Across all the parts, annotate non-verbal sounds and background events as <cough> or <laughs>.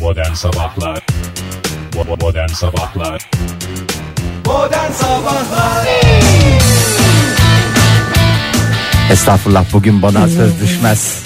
Modern Sabahlar Bo- Modern Sabahlar Modern Sabahlar Estağfurullah bugün bana söz düşmez.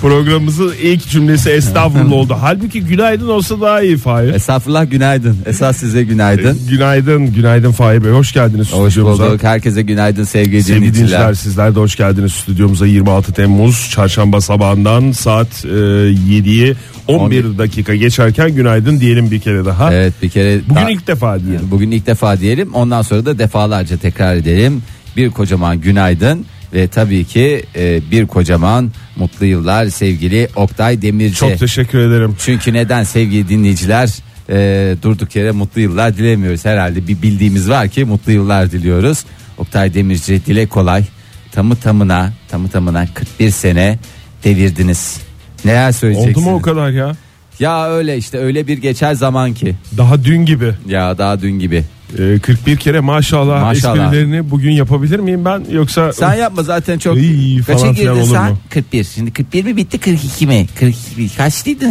Programımızın ilk cümlesi estağfurullah oldu. Halbuki günaydın olsa daha iyi Fahir. Estağfurullah günaydın. Esas size günaydın. Günaydın, günaydın Fahir Bey. Hoş geldiniz Ee, Hoş stüdyomuza. bulduk. Herkese günaydın sevgili Sevgili dinleyiciler dinleyiciler. sizler de hoş geldiniz stüdyomuza 26 Temmuz çarşamba sabahından saat e, 7'yi 11 dakika geçerken günaydın diyelim bir kere daha. Evet bir kere Bugün daha- ilk defa diyelim. bugün ilk defa diyelim. Ondan sonra da defalarca tekrar edelim. Bir kocaman günaydın ve tabii ki e, bir kocaman mutlu yıllar sevgili Oktay Demirci. Çok teşekkür ederim. Çünkü neden sevgili dinleyiciler e, durduk yere mutlu yıllar dilemiyoruz herhalde bir bildiğimiz var ki mutlu yıllar diliyoruz. Oktay Demirci dile kolay tamı tamına tamı tamına 41 sene devirdiniz. Neler Oldu söyleyeceksiniz? mu o kadar ya? Ya öyle işte öyle bir geçer zaman ki Daha dün gibi ya daha dün gibi. e, 41 kere maşallah, Maşallah. esprilerini bugün yapabilir miyim ben yoksa Sen yapma zaten çok. İyi, falan Kaça filan girdin olur sen? mu? 41. Şimdi 41 mi bitti 42 mi? 42. Kaçlıydın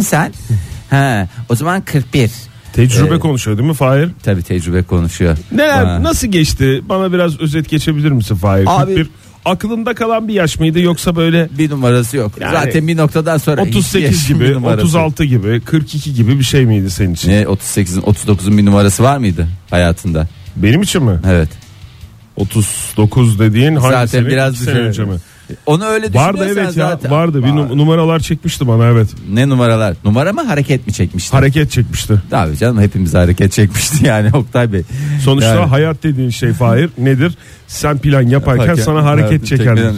<laughs> sen? ha, o zaman 41. tecrübe Ee, konuşuyor değil mi Fahir? Tabii tecrübe konuşuyor. Neler Bana- nasıl geçti? Bana biraz özet geçebilir misin Fahir? Abi- 41 aklında kalan bir yaş mıydı yoksa böyle bir numarası yok. Yani Zaten bir noktadan sonra hiçbir 38 yaşın bir gibi, numarası. 36 gibi, 42 gibi bir şey miydi senin için? Ne 38'in 39'un bir numarası var mıydı hayatında? Benim için mi? Evet. 39 dediğin hangi Zaten sene? biraz İki sene düşünüyorum. önce mi? Onu öyle Vardı düşünüyorsan evet ya, zaten. vardı. Bir num- numaralar çekmişti bana evet. Ne numaralar? Numara mı hareket mi çekmişti? Hareket çekmişti. Tabii canım hepimiz hareket çekmişti yani <laughs> Oktay Bey. Sonuçta Yani- hayat dediğin şey Fahir nedir? Sen plan yaparken, sana hareket çekerler.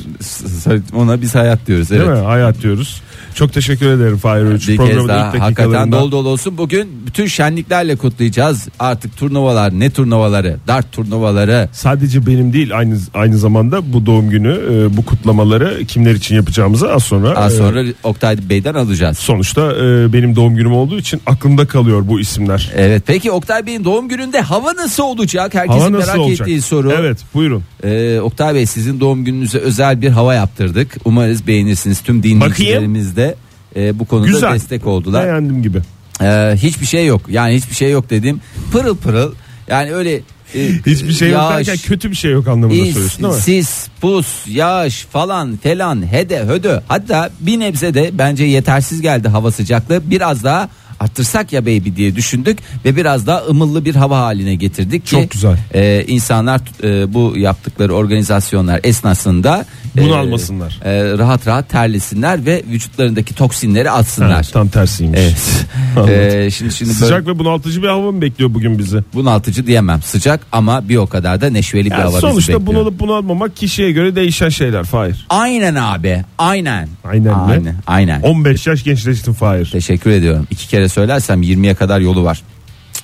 çekerler. Ona biz hayat diyoruz evet. Değil mi? Hayat diyoruz. Çok teşekkür ederim Fahir Öğüç. Bir Programın kez ilk daha hakikaten dakikalarında. dol dol olsun. Bugün bütün şenliklerle kutlayacağız. Artık turnuvalar ne turnuvaları? Dart turnuvaları. Sadece benim değil aynı aynı zamanda bu doğum günü e, bu kutlamaları kimler için yapacağımızı az sonra Az e, sonra Oktay Bey'den alacağız. sonuçta e, benim doğum günüm olduğu için aklımda kalıyor bu isimler. Evet peki Oktay Bey'in doğum gününde hava nasıl olacak? Herkesin Hava nasıl merak olacak? ettiği soru. Evet buyurun. Ee, Oktay Bey sizin doğum gününüze özel bir hava yaptırdık. Umarız beğenirsiniz. Tüm dinleyicilerimiz de e, bu konuda Güzel. destek oldular. Beğendim gibi. Ee, hiçbir şey yok. Yani hiçbir şey yok dedim. Pırıl pırıl. Yani öyle e, Hiçbir şey yok yağış, derken kötü bir şey yok anlamında is, söylüyorsun değil mi? sis, pus, yağış falan felan hede hödö. Hatta bir nebze de bence yetersiz geldi hava sıcaklığı. Biraz daha arttırsak ya baby diye düşündük ve biraz daha ımıllı bir hava haline getirdik ki Çok güzel. e, insanlar e, bu yaptıkları organizasyonlar esnasında Bunalmasınlar. e, e, rahat rahat terlesinler ve vücutlarındaki toksinleri atsınlar. Ha, tam tersiymiş. Evet. <laughs> Anladım. E, şimdi şimdi böyle Sıcak ve bunaltıcı bir hava mı bekliyor bugün bizi? bunaltıcı diyemem. Sıcak ama bir o kadar da neşveli bir Yani hava bizi sonuçta bekliyor. bunalıp bunalmamak kişiye göre değişen şeyler Fahir. Aynen abi. Aynen. Aynen mi? Aynen. aynen. 15 yaş gençleştin Fahir. Teşekkür ediyorum. İki kere söylersem 20'ye kadar yolu var.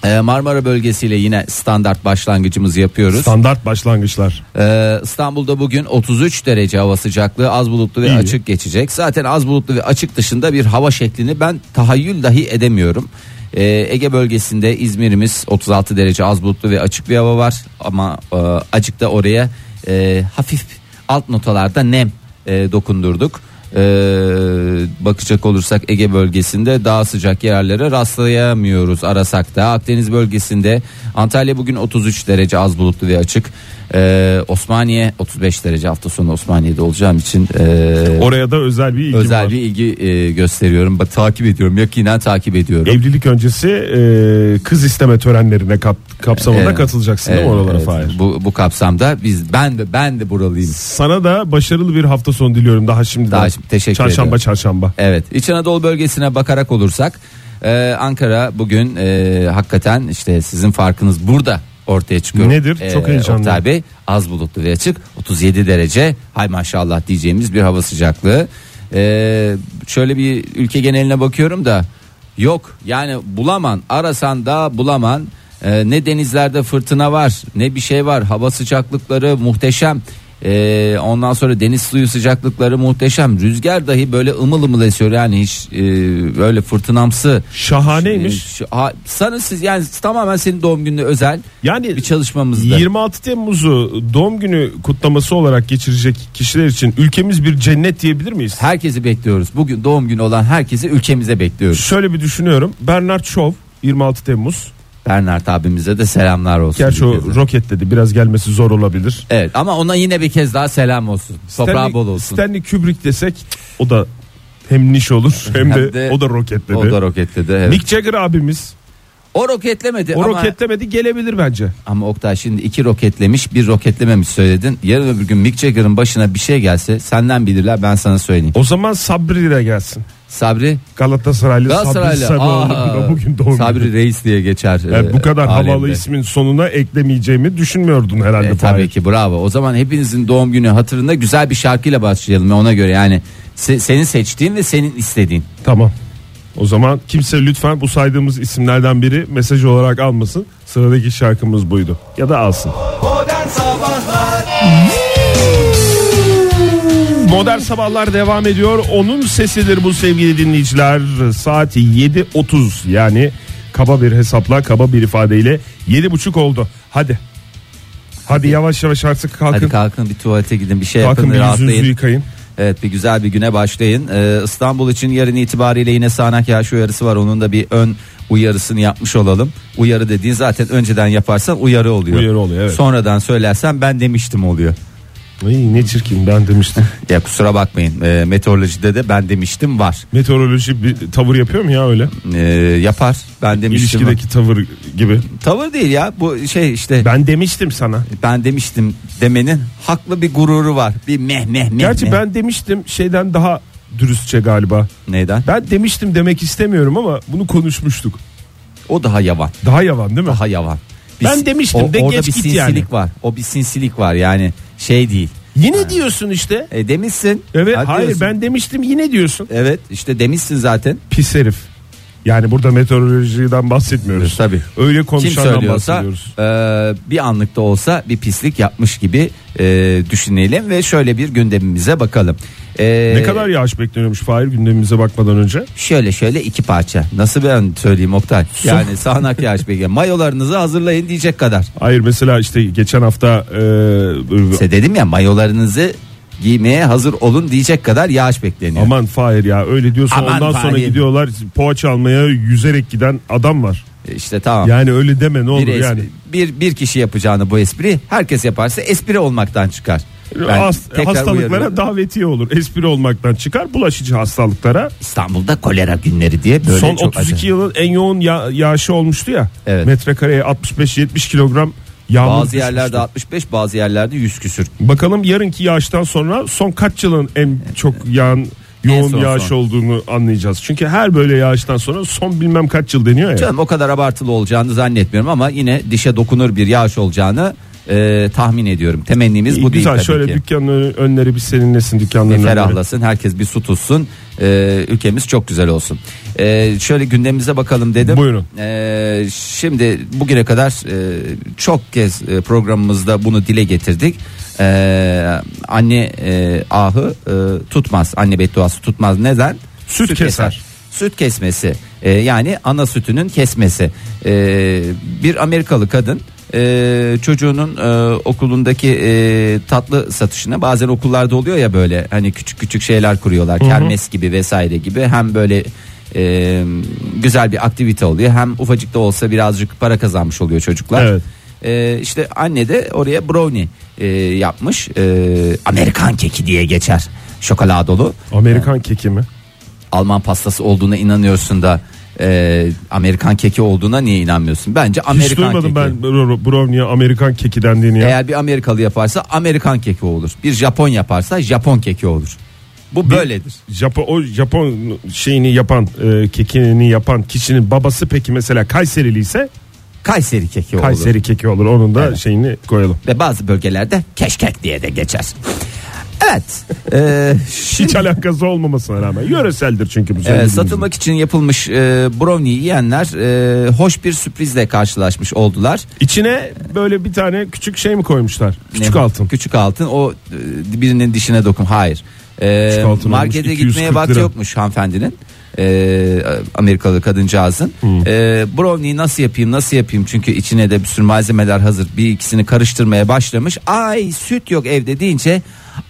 Ee, Marmara bölgesiyle yine standart başlangıcımızı yapıyoruz. Standart başlangıçlar. Ee, İstanbul'da bugün 33 derece hava sıcaklığı az bulutlu ve İyi. açık geçecek. Zaten az bulutlu ve açık dışında bir hava şeklini ben tahayyül dahi edemiyorum. Ee, Ege bölgesinde İzmir'imiz 36 derece az bulutlu ve açık bir hava var. Ama e, acık da oraya e, hafif alt notalarda nem e, dokundurduk. Ee, bakacak olursak Ege bölgesinde daha sıcak yerlere rastlayamıyoruz arasak da Akdeniz bölgesinde Antalya bugün 33 derece az bulutlu ve açık Ee, Osmaniye 35 derece hafta sonu Osmaniye'de olacağım için ee, Oraya da özel bir ilgi özel var. bir ilgi ee, gösteriyorum Ba- takip ediyorum yakinen takip ediyorum Evlilik öncesi e, kız isteme törenlerine kap- kapsamında Evet. E, katılacaksın değil mi Evet, oralara evet. Fahir? bu, bu kapsamda biz ben de ben de buralıyım Sana da başarılı bir hafta sonu diliyorum daha şimdiden. Daha şimdi, teşekkür çarşamba, ediyorum. Çarşamba Evet İç Anadolu bölgesine bakarak olursak e, Ankara bugün e, hakikaten işte sizin farkınız burada ortaya çıkıyor. E, Nedir? Çok heyecanlıyım. Oktay Bey az bulutlu ve açık 37 derece hay maşallah diyeceğimiz bir hava sıcaklığı. E, şöyle bir ülke geneline bakıyorum da yok yani bulaman arasan da bulaman. Ee, E, ne denizlerde fırtına var ne bir şey var hava sıcaklıkları muhteşem E, ondan sonra deniz suyu sıcaklıkları muhteşem. Rüzgar dahi böyle ımıl ımıl esiyor yani hiç e, böyle fırtınamsı. Şahaneymiş. E, şu- ha- sanın siz yani tamamen senin doğum gününe özel Yani bir çalışmamızda. 26 Temmuz'u doğum günü kutlaması olarak geçirecek kişiler için ülkemiz bir cennet diyebilir miyiz? Herkesi bekliyoruz. Bugün doğum günü olan herkesi ülkemize bekliyoruz. Şöyle bir düşünüyorum. Bernard Shaw 26 Temmuz. Bernard abimize de selamlar olsun. Gerçi bir kez o daha. roket dedi. Biraz gelmesi zor olabilir. Evet ama ona yine bir kez daha selam olsun. Toprağı Stanley- bol olsun. Stanley Kubrick desek o da hem niş <laughs> olur hem, Hem de, de- o da roket dedi. O da roketledi. Evet. Mick Jagger abimiz O roketlemedi o ama roketlemedi gelebilir bence. ama Oktay şimdi iki roketlemiş bir roketlememiş söyledin. Yarın öbür gün Mick Jagger'ın başına bir şey gelse senden bilirler ben sana söyleyeyim. O zaman Sabri de gelsin. Sabri Galatasaraylı, Galatasaraylı. Sabri Aa, Sarıoğlu bugün doğum Sabri günü. Reis diye geçer. Yani e, bu kadar havalı alemde. ismin sonuna eklemeyeceğimi düşünmüyordun herhalde. E, Fahir. tabii ki bravo. O zaman hepinizin doğum günü hatırında güzel bir şarkıyla başlayalım ona göre. Yani se- senin seçtiğin ve senin istediğin. Tamam. O zaman kimse lütfen bu saydığımız isimlerden biri mesaj olarak almasın. Sıradaki şarkımız buydu. Ya da alsın. Modern Sabahlar Modern Sabahlar devam ediyor. Onun sesidir bu sevgili dinleyiciler. Saat 7.30 yani kaba bir hesapla kaba bir ifadeyle 7.30 oldu. Hadi. Hadi yavaş yavaş artık kalkın. Hadi kalkın bir tuvalete gidin bir şey Kalkın yapın bir yüzünüzü rahatlayın. yıkayın. Evet bir güzel bir güne başlayın. Ee, İstanbul için yarın itibariyle yine sağanak yağış uyarısı var. Onun da bir ön uyarısını yapmış olalım. Uyarı dediğin zaten önceden yaparsan uyarı oluyor. Uyarı oluyor, evet. Sonradan söylersen ben demiştim oluyor. Ay ne çirkin ben <laughs> demiştim. Ya kusura bakmayın ee, meteorolojide de ben demiştim var. Meteoroloji bir tavır yapıyor mu ya öyle? Ee, yapar ben demiştim. var. İlişkideki tavır gibi. Tavır değil ya bu şey işte ben, Ben demiştim sana. demiştim demenin haklı bir gururu var. Bir meh meh meh. Gerçi meh. ben demiştim şeyden daha dürüstçe galiba. Neyden? Ben demiştim demek istemiyorum ama bunu konuşmuştuk. O daha yavan. Daha yavan değil mi? daha yavan. Ben demiştim de orada geç bir git sinsilik yani. var. O bir sinsilik var yani şey değil. Yine diyorsun işte. E demişsin. Evet Ha, hayır diyorsun. ben demiştim yine diyorsun. Evet işte demişsin zaten. Pis herif. Yani burada meteorolojiden bahsetmiyoruz. Tabii. Öyle Kim konuşandan söylüyorsa bahsediyoruz. e, bir anlık da olsa bir pislik yapmış gibi e, düşünelim ve şöyle bir gündemimize bakalım. E, Ne kadar yağış bekleniyormuş Fahir gündemimize bakmadan önce. Şöyle şöyle iki parça. Nasıl ben söyleyeyim Oktay? Yani sağanak <laughs> yağış bekliyor. Mayolarınızı hazırlayın diyecek kadar. Hayır mesela işte geçen hafta e, e, İşte dedim ya mayolarınızı giymeye hazır olun diyecek kadar yağış bekleniyor. aman Fahir ya öyle diyorsa Aman ondan sonra Fahir. gidiyorlar poğaça almaya yüzerek giden adam var. E, İşte tamam. Yani öyle deme ne olur bir, espri- yani. bir bir kişi yapacağını bu espri herkes yaparsa espri olmaktan çıkar. Ben Hast- tekrar hastalıklara uyarıyorum. davetiye olur. Espri olmaktan çıkar bulaşıcı hastalıklara. İstanbul'da kolera günleri diye böyle Son çok 32 acayip. yılın en yoğun ya- yağışı olmuştu ya. Evet. Metrekareye 65-70 kilogram yağmur bazı düşmüştü. yerlerde 65 bazı yerlerde 100 küsür. Bakalım yarınki yağıştan sonra son kaç yılın en çok yağan yoğun son, yağış son. olduğunu anlayacağız. Çünkü her böyle yağıştan sonra son bilmem kaç yıl deniyor ya. Canım o kadar abartılı olacağını zannetmiyorum ama yine dişe dokunur bir yağış olacağını e, tahmin ediyorum. Temennimiz İyi, bu değil Güzel tabii şöyle ki. dükkanın önü- önleri bir serinlesin dükkanların Bir önleri. ferahlasın herkes bir su tutsun Ee, ülkemiz çok güzel olsun Ee, şöyle gündemimize bakalım dedim Buyurun. Ee, şimdi bugüne kadar e, çok kez e, programımızda bunu dile getirdik Ee, anne e, ahı e, tutmaz anne bedduası tutmaz neden Süt keser. Süt kesmesi e, yani ana sütünün kesmesi E, bir Amerikalı kadın e, çocuğunun e, okulundaki e, tatlı satışına bazen okullarda oluyor ya böyle hani küçük küçük şeyler kuruyorlar kermes gibi vesaire gibi hem böyle e, güzel bir aktivite oluyor hem ufacık da olsa birazcık para kazanmış oluyor çocuklar. Evet. E, işte anne de oraya brownie e, yapmış E, Amerikan keki diye geçer şokoladolu. Amerikan keki mi? Alman pastası olduğuna inanıyorsun da e, Amerikan keki olduğuna niye inanmıyorsun? Bence Amerikan Hiç duymadım keki. ben bro- brownie'ye Amerikan keki dendiğini ya. Eğer bir Amerikalı yaparsa Amerikan keki olur. Bir Japon yaparsa Japon keki olur. Bu böyledir. Japon, o Japon şeyini yapan e, kekini yapan kişinin babası peki mesela Kayserili ise Kayseri keki olur. Kayseri keki olur onun da şeyini koyalım. Ve bazı bölgelerde keşkek diye de geçer. Evet. Ee, Hiç <laughs> alakası olmamasına rağmen. Yöreseldir çünkü bu Ee, söylediğimiz. satılmak için yapılmış e, brownie yiyenler e, hoş bir sürprizle karşılaşmış oldular. İçine böyle bir tane küçük şey mi koymuşlar? Küçük Ne? altın. Küçük altın o e, birinin dişine dokun. Hayır. Ee, Küçük altın markete olmuş, 240 gitmeye vakti lira. yokmuş hanımefendinin. Ee, Amerikalı kadıncağızın. Hmm. Ee, brownie nasıl yapayım nasıl yapayım çünkü içine de bir sürü malzemeler hazır. Bir ikisini karıştırmaya başlamış. Ay süt yok evde deyince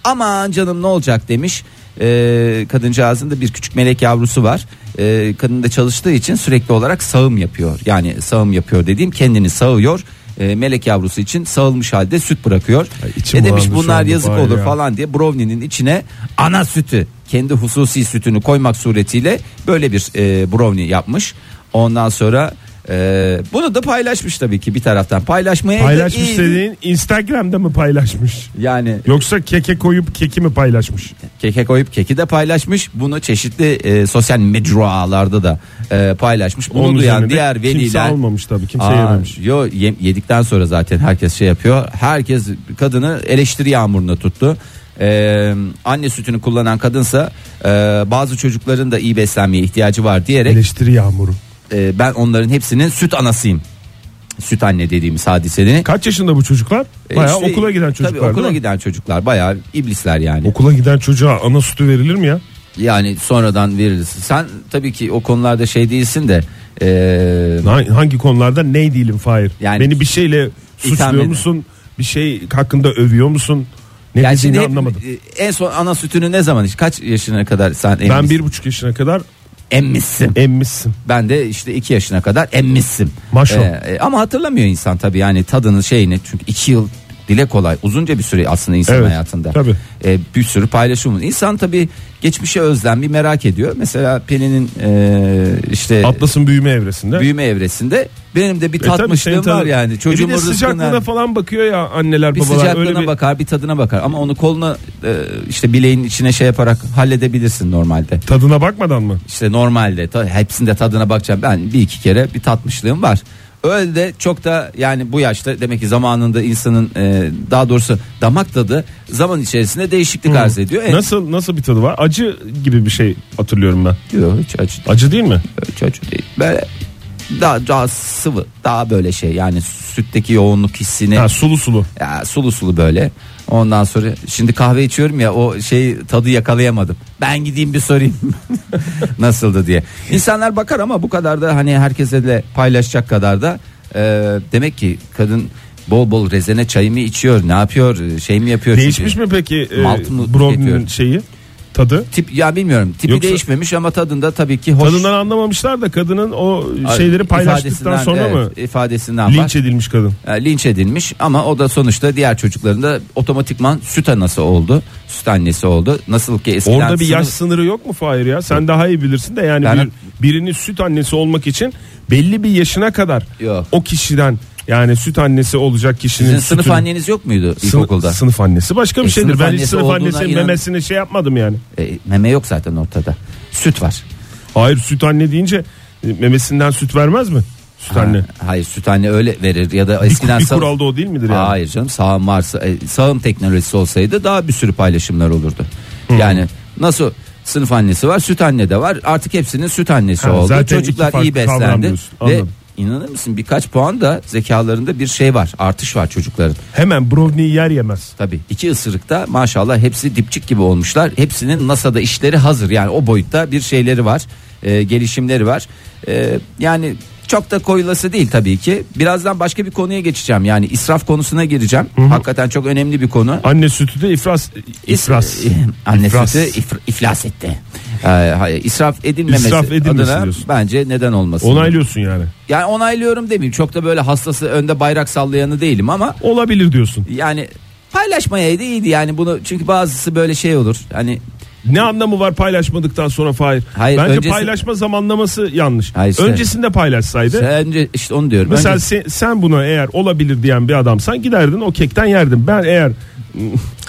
aman canım ne olacak demiş. Ee, kadıncağızın da bir küçük melek yavrusu var. Ee, kadın da çalıştığı için sürekli olarak sağım yapıyor. Yani sağım yapıyor dediğim kendini sağıyor. Ee, melek yavrusu için sağılmış halde süt bırakıyor. Ay, içim Ne demiş bulandı şu bunlar anda yazık bari olur ya. falan diye brownie'nin içine ana sütü kendi hususi sütünü koymak suretiyle böyle bir e, brownie yapmış. Ondan sonra e, bunu da paylaşmış tabii ki bir taraftan paylaşmaya da Paylaşmış iyi. dediğin Instagram'da mı paylaşmış? Yani Yoksa keke koyup keki mi paylaşmış? keke koyup keki de paylaşmış. Bunu çeşitli e, sosyal mecralarda da e, paylaşmış. Bunu Onun üzerine de duyan diğer Kimse veliler almamış tabii kimse Aa, yememiş. Yo ye- yedikten sonra zaten herkes şey yapıyor. Herkes kadını eleştiri yağmuruna tuttu. Ee, anne sütünü kullanan kadınsa e, bazı çocukların da iyi beslenmeye ihtiyacı var diyerek Eleştiri yağmuru. e, ben onların hepsinin süt anasıyım. Süt anne dediğimiz hadisenin. Kaç yaşında bu çocuklar? E, Bayağı işte- okula giden çocuklar Tabii okula değil mi? giden çocuklar bayağı iblisler yani. Okula giden çocuğa ana sütü verilir mi ya? yani sonradan verilirsin. Sen tabii ki o konularda şey değilsin de e, Ha- Hangi konularda ne değilim Fahir? Yani- Beni bir şeyle suçluyor edin. musun? Bir şey hakkında övüyor musun? Ne yani dediğini şimdi hep- anlamadım. e, en son ana sütünü ne zaman iç? Kaç yaşına kadar sen emmişsin? Ben bir buçuk yaşına kadar emmişsin. emmişsin. Ben de işte 2 yaşına kadar emmişsin. Maşo. e, ama hatırlamıyor insan tabii yani tadını şeyini çünkü 2 yıl dile kolay uzunca bir süre aslında insan Evet, hayatında. tabii. E, bir sürü paylaşım. İnsan tabii geçmişe özlem bir merak ediyor. Mesela Pelin'in e, işte Atlas'ın büyüme evresinde. büyüme evresinde benim de bir E tabii senin tatmışlığım tabii- var yani. E bir Çocuğumun de sıcaklığına rızkından falan bakıyor ya anneler bir babalar. Öyle sıcaklığına bir- bakar bir tadına bakar ama onu koluna e, işte bileğin içine şey yaparak halledebilirsin normalde. Tadına bakmadan mı? İşte normalde ta- hepsinde tadına bakacağım. Ben bir iki kere bir tatmışlığım var. Öyle de çok da yani bu yaşta demek ki zamanında insanın e, daha doğrusu damak tadı zaman içerisinde değişiklik arz ediyor. E, Nasıl nasıl bir tadı var? Acı gibi bir şey hatırlıyorum ben. Yok, hiç acı, Acı değil mi? hiç acı değil. Böyle daha, daha sıvı daha böyle şey yani sütteki yoğunluk hissini Ha, sulu sulu. ya, sulu sulu böyle. Ondan sonra şimdi kahve içiyorum ya o şey tadı yakalayamadım. Ben gideyim bir sorayım <laughs> nasıldı diye. İnsanlar bakar ama bu kadar da hani herkese de paylaşacak kadar da e, demek ki kadın bol bol rezene çayı mı içiyor ne yapıyor şey mi yapıyor. Değişmiş çünkü. mi peki e, Malt mı brownie'nin tüketiyorum? şeyi? Tadı? Tip, ya bilmiyorum tipi Yoksa- değişmemiş ama tadında tabii ki hoş. Tadından anlamamışlar da kadının o şeyleri paylaştıktan ifadesinden- sonra evet, mı ifadesinden var. linç edilmiş kadın? e, linç edilmiş ama o da sonuçta diğer çocukların da otomatikman süt anası oldu. Süt annesi oldu. Nasıl ki eskiden Orada bir yaş sınıf- sınırı yok mu Fahir ya? Sen daha iyi bilirsin de yani Ben- bir, birinin süt annesi olmak için belli bir yaşına kadar Yok. o kişiden yani süt annesi olacak kişinin sizin sınıf sütünü- anneniz yok muydu Sını- ilkokulda? Sınıf annesi başka bir E, şeydir. sınıf Ben hiç annesi sınıf olduğuna annesinin inan- memesine şey yapmadım yani. E, meme yok zaten ortada. Süt var. Hayır süt anne deyince e, memesinden süt vermez mi? Süt anne. Ha, hayır süt anne öyle verir ya da Bir, eskiden bir sağ- kuralda o değil midir yani? Hayır canım sağım varsa e, sağım teknolojisi olsaydı daha bir sürü paylaşımlar olurdu. Hmm. Yani nasıl sınıf annesi var, süt anne de var. Artık hepsinin süt annesi Ha, oldu. zaten iki Çocuklar farklı iyi kavram beslendi diyorsun. ve Anladım. inanır mısın birkaç puan da zekalarında bir şey var. Artış var çocukların. Hemen brownie'yi yer yemez. Tabii iki ısırıkta maşallah hepsi dipçik gibi olmuşlar. Hepsinin NASA'da işleri hazır. Yani o boyutta bir şeyleri var. e, gelişimleri var. E, yani çok da koyulası değil tabii ki. Birazdan başka bir konuya geçeceğim. Yani israf konusuna gireceğim. Hakikaten çok önemli bir konu. E, Anne sütü de ifras ifras. Anne İfras. sütü ifr- iflas etti. E, hayır, israf edilmemesi İsraf edilmesin adına diyorsun. bence neden olmasın. Onaylıyorsun yani. Yani onaylıyorum demeyeyim. Çok da böyle hastası önde bayrak sallayanı değilim ama Olabilir diyorsun. yani paylaşmayaydı iyiydi yani bunu çünkü bazısı böyle şey olur hani Ne anlamı var paylaşmadıktan sonra Fahir? Hayır, Bence öncesi- paylaşma zamanlaması yanlış. Hayır, işte- Öncesinde paylaşsaydı. önce işte onu diyorum. Mesela Önce- sen, sen buna eğer olabilir diyen bir adamsan giderdin o kekten yerdin. Ben eğer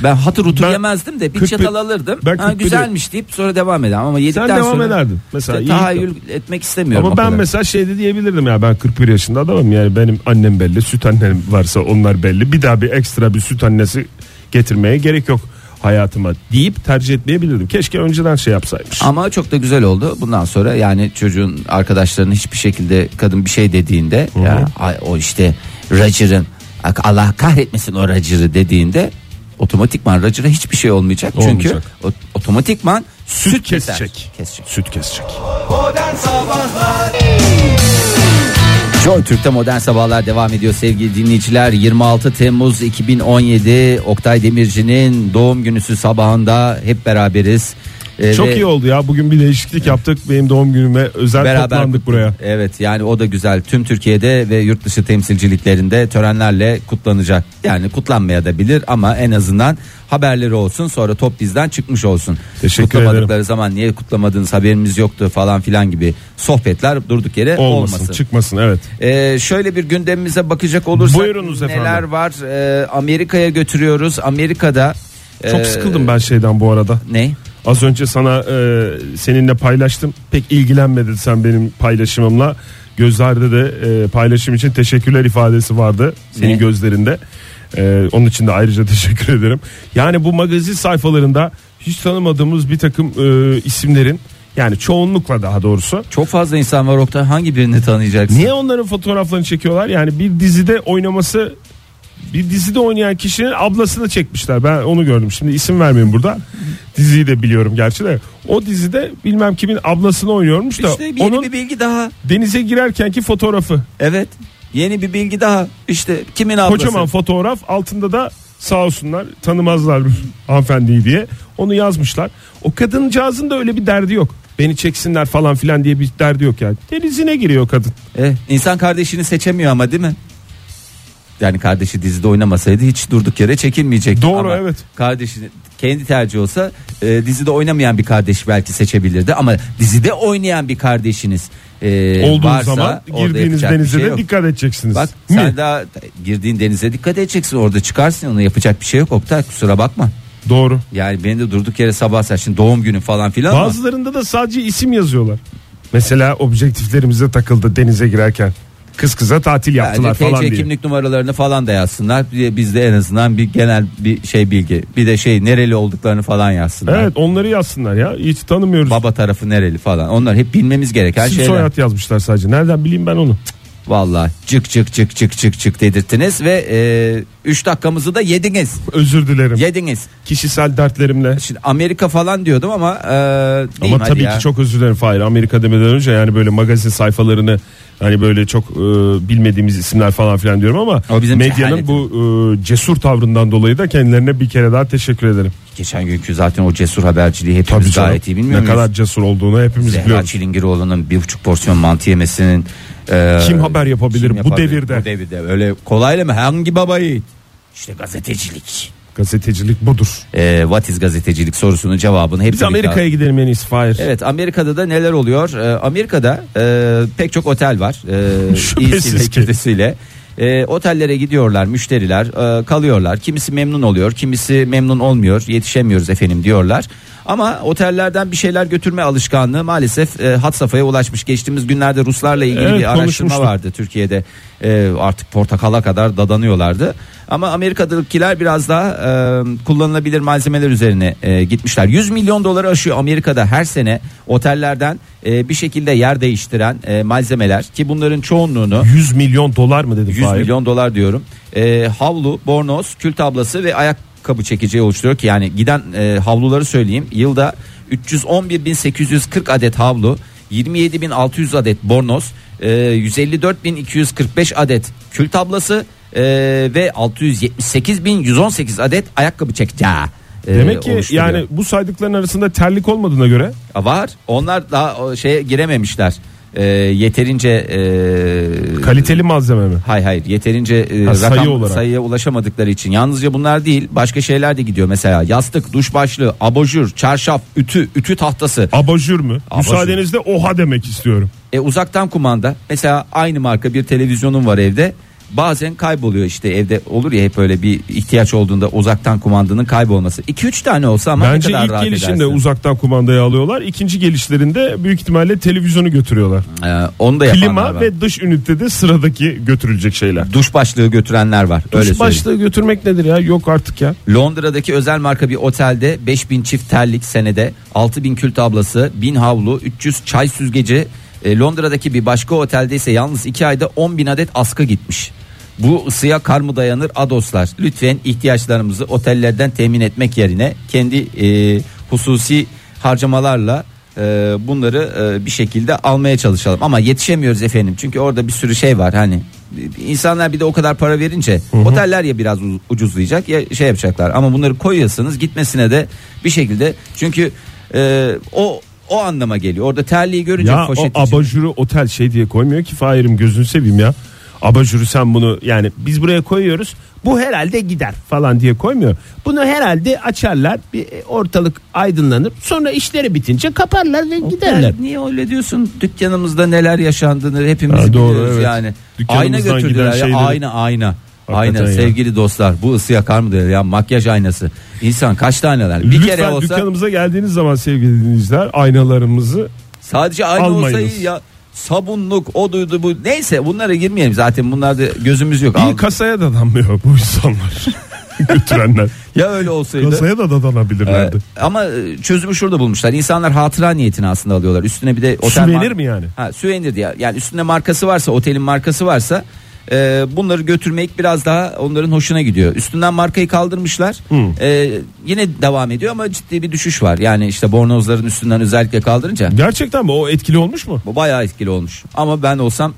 ben hatır hutur ben yemezdim de bir kırk çatal bir- alırdım. ben Ha, kırk bir- güzelmiş deyip sonra devam ederim ama yedikten sen devam sonra ederdin. Mesela işte iyi- tahayyül etmek istemiyorum. Ama o ben kadar. mesela şeyde diyebilirdim ya ben 41 yaşında adamım yani benim annem belli süt annem varsa onlar belli bir daha bir ekstra bir süt annesi getirmeye gerek yok. hayatıma deyip tercih etmeyebilirdim. Keşke önceden şey yapsaymış. Ama çok da güzel oldu. Bundan sonra yani çocuğun arkadaşlarının hiçbir şekilde kadın bir şey dediğinde ya "Ay, o işte Roger'ın Allah kahretmesin o Roger'ı dediğinde otomatikman Roger'a hiçbir şey olmayacak. Olmayacak. Çünkü o- otomatikman süt, Süt keser. kesecek. Kesecek. Süt kesecek. Modern Sabahlar Joy Türk'te modern sabahlar devam ediyor sevgili dinleyiciler. 26 Temmuz 2017 Oktay Demirci'nin doğum günüsü sabahında hep beraberiz. Ee, Çok ve iyi oldu ya. Bugün bir değişiklik yaptık. Benim doğum günüme özel toplandık buraya. Evet yani o da güzel. Tüm Türkiye'de ve yurt dışı temsilciliklerinde törenlerle kutlanacak. Yani kutlanmaya da bilir ama en azından haberleri olsun sonra top bizden çıkmış olsun. Teşekkür Kutlamadıkları zaman niye kutlamadınız haberimiz yoktu falan filan gibi sohbetler durduk yere Olmasın, olmasın. çıkmasın evet. Ee, şöyle bir gündemimize bakacak olursak Buyurunuz efendim. neler var? Ee, Amerika'ya götürüyoruz. Amerika'da Çok e, sıkıldım ben şeyden bu arada. Ne? Az önce sana e, seninle paylaştım. Pek ilgilenmedin sen benim paylaşımımla. Gözlerde de e, paylaşım için teşekkürler ifadesi vardı senin Ne? gözlerinde. E, onun için de ayrıca <laughs> teşekkür ederim. Yani bu magazin sayfalarında hiç tanımadığımız bir takım e, isimlerin yani çoğunlukla daha doğrusu Çok fazla insan var Oktay. Hangi birini tanıyacaksın? Niye onların fotoğraflarını çekiyorlar? Yani bir dizide oynaması bir dizide oynayan kişinin ablasını çekmişler. Ben onu gördüm. Şimdi isim vermeyeyim burada. Diziyi de biliyorum gerçi de. O dizide bilmem kimin ablasını oynuyormuş da İşte yeni onun bir bilgi daha. denize girerkenki fotoğrafı. Evet. Yeni bir bilgi daha. İşte kimin ablası? Kocaman fotoğraf altında da sağ olsunlar tanımazlar hanımefendiyi diye onu yazmışlar. O kadıncağızın da öyle bir derdi yok. Beni çeksinler falan filan diye bir derdi yok yani. Denizine giriyor kadın. Eh, insan kardeşini seçemiyor ama değil mi? Yani kardeşi dizide oynamasaydı hiç durduk yere çekilmeyecekti. Doğru, Ama evet. Kardeşini kendi tercih olsa e, dizide oynamayan bir kardeş belki seçebilirdi ama dizide oynayan bir kardeşiniz e, Olduğu varsa zaman orada girdiğiniz yapacak bir denize şey de yok. dikkat edeceksiniz. Bak Mi? sen daha girdiğin denize dikkat edeceksin orada çıkarsın onu yapacak bir şey yok Oktay kusura bakma. Doğru. Yani beni de durduk yere sabah sen şimdi doğum günü falan filan ama- Bazılarında da sadece isim yazıyorlar. Mesela objektiflerimize takıldı denize girerken. Kız kıza tatil yaptılar Bence falan TC diye. kimlik numaralarını falan da yazsınlar. Bir- Bizde en azından bir genel bir şey bilgi. Bir de şey nereli olduklarını falan yazsınlar. Evet onları yazsınlar ya. Hiç tanımıyoruz. Baba tarafı nereli falan. Onlar hep bilmemiz gereken İsim şeyler. soyad yazmışlar sadece. Nereden bileyim ben onu? Vallahi cık cık cık cık cık cık dedirttiniz ve 3 dakikamızı da yediniz. Özür dilerim. Yediniz. Kişisel dertlerimle. Şimdi Amerika falan diyordum ama e, diyeyim Ama hadi tabii ya. ki çok özür dilerim Fahir. Amerika demeden önce yani böyle magazin sayfalarını hani böyle çok e, bilmediğimiz isimler falan filan diyorum ama O bizim medyanın bu e, cesur tavrından dolayı da kendilerine bir kere daha teşekkür ederim. Geçen günkü zaten o cesur haberciliği hepimiz Tabii canım. gayet iyi bilmiyor Ne muyuz? kadar cesur olduğunu hepimiz Zehra biliyoruz. Çilingiroğlu'nun bir buçuk porsiyon mantı yemesinin e, Kim haber yapabilir bu devirde? Bu devirde öyle kolayla mı? Hangi babayı? İşte gazetecilik. Gazetecilik budur. E, what is gazetecilik sorusunun cevabını hepsi Biz Amerika'ya gidelim en iyisi Fahir. Evet Amerika'da da neler oluyor? E, Amerika'da e, pek çok otel var. <laughs> E, Şüphesiz iyisiyle, ki. kötüsüyle. E, otellere gidiyorlar müşteriler e, kalıyorlar. Kimisi memnun oluyor kimisi memnun olmuyor yetişemiyoruz efendim diyorlar. Ama otellerden bir şeyler götürme alışkanlığı maalesef e, had safhaya ulaşmış. Geçtiğimiz günlerde Ruslarla ilgili Evet, bir araştırma konuşmuştuk. vardı Türkiye'de. E, artık portakala kadar dadanıyorlardı. Ama Amerika'dakiler biraz daha e, kullanılabilir malzemeler üzerine e, gitmişler. 100 milyon doları aşıyor Amerika'da her sene otellerden e, bir şekilde yer değiştiren e, malzemeler ki bunların çoğunluğunu 100 milyon dolar mı dedim 100 Fahir? milyon dolar diyorum. E, havlu, bornoz, kül tablası ve ayakkabı çekeceği oluşturuyor ki yani giden e, havluları söyleyeyim. Yılda 311.840 adet havlu, 27.600 adet bornoz, e, 154.245 adet kül tablası e, ve 678.118 adet ayakkabı çekeceği. e, Demek ki oluşturuyor. yani bu saydıkların arasında terlik olmadığına göre var. Onlar daha o şeye girememişler. E, yeterince e, kaliteli malzeme mi? Hayır hayır yeterince e, Ha, sayı rakam- olarak. sayıya ulaşamadıkları için yalnızca bunlar değil başka şeyler de gidiyor mesela yastık duş başlığı abajur çarşaf ütü ütü tahtası Abajur mü? Abajur. Müsaadenizle oha demek istiyorum. e, uzaktan kumanda mesela aynı marka bir televizyonum var evde bazen kayboluyor işte evde olur ya hep öyle bir ihtiyaç olduğunda uzaktan kumandanın kaybolması. 2-3 tane olsa ama Bence ne kadar ilk rahat gelişinde edersin. uzaktan kumandayı alıyorlar. İkinci gelişlerinde büyük ihtimalle televizyonu götürüyorlar. Ee, onu da yapanlar Klima var. ve dış ünitede sıradaki götürülecek şeyler. duş başlığı götürenler var. öyle Duş söyleyeyim. başlığı götürmek nedir ya? Yok artık ya. Londra'daki özel marka bir otelde 5000 çift terlik senede 6000 kül tablası 1000 havlu 300 çay süzgeci e, Londra'daki bir başka otelde ise yalnız 2 ayda 10 bin adet askı gitmiş. Bu ısıya kar mı dayanır adoslar lütfen ihtiyaçlarımızı otellerden temin etmek yerine kendi e, hususi harcamalarla e, bunları e, bir şekilde almaya çalışalım ama yetişemiyoruz efendim çünkü orada bir sürü şey var hani e, insanlar bir de o kadar para verince oteller ya biraz uz- ucuzlayacak ya şey yapacaklar ama bunları koyuyorsanız gitmesine de bir şekilde çünkü e, o o anlama geliyor orada terliği görünce Ya o poşet içi- abajuru otel şey diye koymuyor ki Fahir'im gözünü seveyim ya. Abajuru sen bunu yani biz buraya koyuyoruz. Bu herhalde gider falan diye koymuyor. Bunu herhalde açarlar bir ortalık aydınlanır. Sonra işleri bitince kaparlar ve giderler. Yani niye öyle diyorsun? Dükkanımızda neler yaşandığını hepimiz Ha, doğru, biliyoruz evet. yani. Ayna Dükkanımızdan götürdüler giden ya. şeyleri- Ayna ayna. Hakikaten ayna ya. sevgili dostlar bu ısı yakar mı diyor ya makyaj aynası. İnsan kaç taneler? Bir Lütfen kere olsa dükkanımıza geldiğiniz zaman sevgili dinleyiciler aynalarımızı sadece ayna olsa Almayınız. iyi ya. Sabunluk o duydu bu. Neyse bunlara girmeyelim zaten bunlarda gözümüz yok. iyi Al- kasaya da danmıyor bu <laughs> insanlar. Götürenler. ya öyle olsaydı. Kasaya da dadanabilirlerdi. Ee, ama e, çözümü şurada bulmuşlar. İnsanlar hatıra niyetini aslında alıyorlar. Üstüne bir de otel Süvenir mar- mi yani? Ha, süvenir diye. Yani üstünde markası varsa, otelin markası varsa e, bunları götürmek biraz daha onların hoşuna gidiyor. Üstünden markayı kaldırmışlar. E, yine devam ediyor ama ciddi bir düşüş var. Yani işte bornozların üstünden özellikle kaldırınca Gerçekten mi? O etkili olmuş mu? bu bayağı etkili olmuş. Ama ben olsam